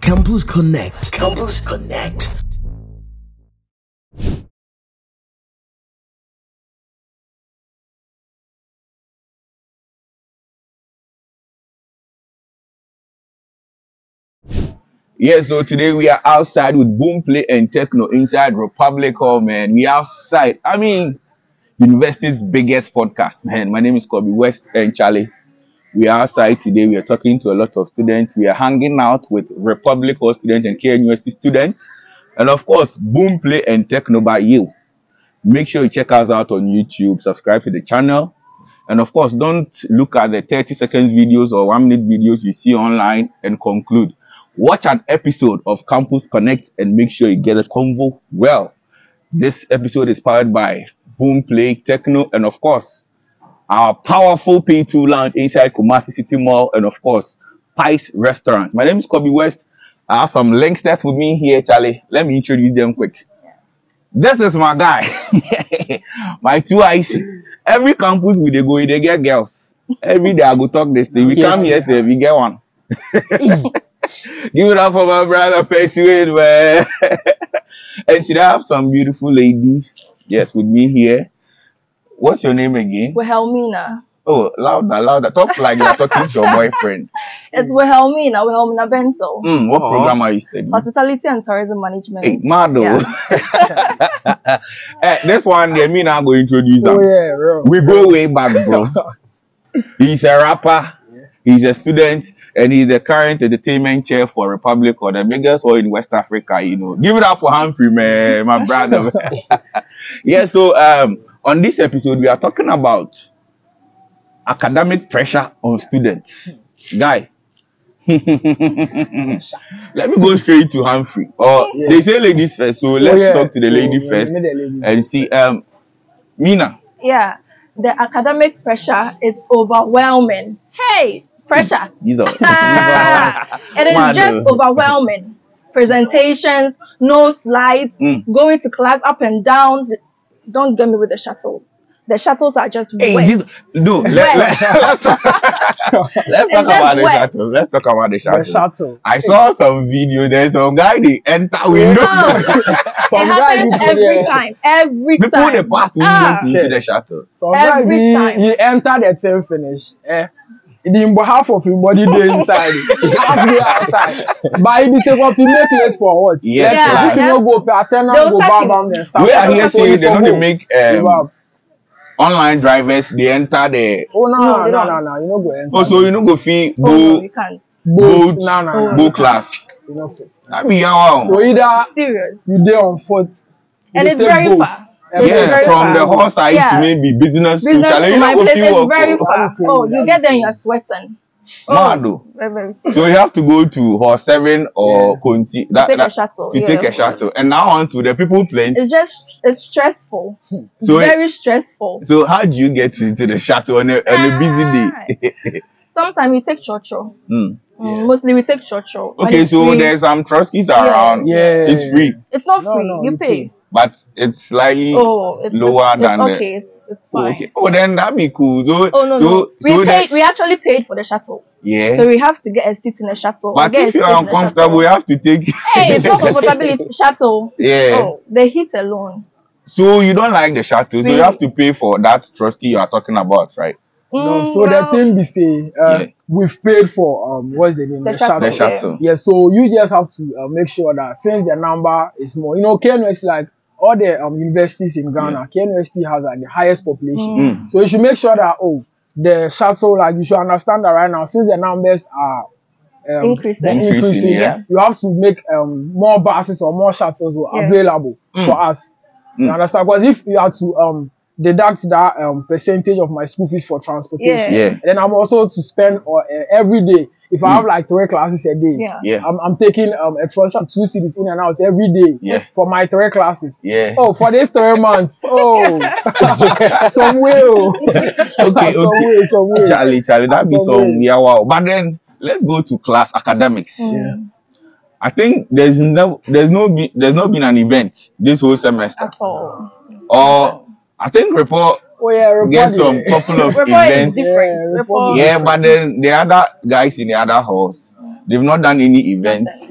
Campus Connect. Campus Connect. Yeah, so today we are outside with Boomplay and Techno inside Republic Hall, man. We outside. I mean, university's biggest podcast, man. My name is Kobe West and Charlie. We are outside today. We are talking to a lot of students. We are hanging out with Republic Hall students and KNUST students. And of course, Boomplay and Techno by you. Make sure you check us out on YouTube, subscribe to the channel. And of course, don't look at the 30 seconds videos or one minute videos you see online and conclude. Watch an episode of Campus Connect and make sure you get the convo well. This episode is powered by Boom Play Techno and of course our powerful P2 lounge inside Kumasi City Mall and of course Pies Restaurant. My name is Kobe West. I have some linksters with me here, Charlie. Let me introduce them quick. This is my guy. my two eyes. Every campus we dey go, they get girls. Every day I go talk this thing. We Yeah. come here, say we get one. Give it up for my brother, Persuade, man. and today I have some beautiful lady. Yes, with me here. What's your name again? Wilhelmina. Oh, louder, louder. Talk like you're talking to your boyfriend. It's Wilhelmina, Wilhelmina Benzo. Mm, what Aw. program are you studying? Hospitality and Tourism Management. Hey, Mado. Eh, this one, there, me now go introduce him. Oh yeah, bro. We go way back, bro. he's a rapper, he's a student, and he's the current entertainment chair for Republic or the biggest or in West Africa, you know. Give it up for Humphrey, man, my brother. yeah, so um on this episode we are talking about academic pressure on students. Guy. let me go straight to Humphrey. Or Yeah. they say ladies first, so let's Oh, yeah. talk to the So, lady yeah, first me the ladies. and see um Mina. Yeah. The academic pressure is overwhelming. Hey, pressure. These are Ah, it is Mano. just overwhelming. Presentations, no slides, Mm. going to class up and down. Don't get me with the shuttles. The shuttles are just Hey, wet. this, no, let, Wet. let, let's talk, let's It's talk about just the wet. shuttle. Let's talk about the the shuttle. Eh, shuttle. I saw some video. There's some guy they enter window. it Some guys happens be every there. time. Every People time. they pass windows Ah. into Yeah. the shuttle. Some Every guy be time. he enter the team finish. Eh, the half of him body dey inside, half dey outside. But he be say, "Well, if you make late for what? Yes, Lecture. Yeah, if you no yes. go pay attention, They'll go sack bow him. down and stuff." We are here So saying you they for want to go, make give um, up. online drivers. They enter the Oh no, No, no, they no, don't. no, no, you no go enter. oh, so you know go fee Oh, no, go you can't. boat boat, no, no, go no, class. you no fit. I be how So either Serious. you dey on foot, And you it's take very boat, far. and It's yeah very from far. the horse side to Yeah. maybe business to business challenge. to You my know go place fee is work. very oh. far. Okay, Oh, you yeah. get there, you're sweating. Mad, oh. Very, very So soon. you have to go to horse seven or Yeah. Conti To take a shuttle, to yeah. take a shuttle, and now on to the people playing. It's just it's stressful. So it- very stressful. So how do you get into the shuttle on a, on a busy Ah. day? Sometimes we take chocho. Hmm. Mm, Mostly we take chocho. But Okay, it's so free. there's some Trotskys Yeah. around. Yeah. It's free, it's not No, free. no, you you pay. pay. but it's slightly. Oh, it's Lower it's, it's than the- okay. It's, it's Oh, fine. okay. Oh, then that'd be cool. So, Oh no, so, no. We so paid. that, we actually paid for the shuttle, yeah. so we have to get a seat in the shuttle. or but get a if you're seat in the uncomfortable, you shuttle. have to take. hey, it's not comfortability shuttle. yeah. Oh, the heat alone. So you don't like the shuttle, so you We- have to pay for that Trotsky you are talking about, right? No, Mm, so well, the thing be say, uh, Yeah. we've paid for um, what's the name? The shuttle. The Okay. shuttle. Yeah, so you just have to uh, make sure that since the number is more, you know, KNU is like all the um, universities in Ghana, KNUST has like the highest population. Mm. So you should make sure that oh, the shuttle like you should understand that right now since the numbers are um, Increasing. they're Increasing, yeah. you have to make um, more buses or more shuttles were Yeah. available Mm. for us. You Mm. understand? Because if you are to um, deduct that um, percentage of my school fees for transportation, Yeah. Yeah. Mm. and then I'm also to spend or uh, every day. If I have like three classes a day, Yeah. Yeah. I'm, I'm taking um, a trust of two cities in and out every day Yeah. for my three classes. Yeah. Oh, for these three months. Oh, some way. oh. okay, some okay. way, some way. Charlie, Charlie, that be Some some way. yeah wow. But then let's go to class academics. Hmm. Yeah. I think there's no there's no be, there's not been an event this whole semester. at all. Or I think report Oh yeah, get everybody. some couple of Rapport is events. different. Yeah, Rapport- Yeah, but then the other guys in the other halls, they've not done any events.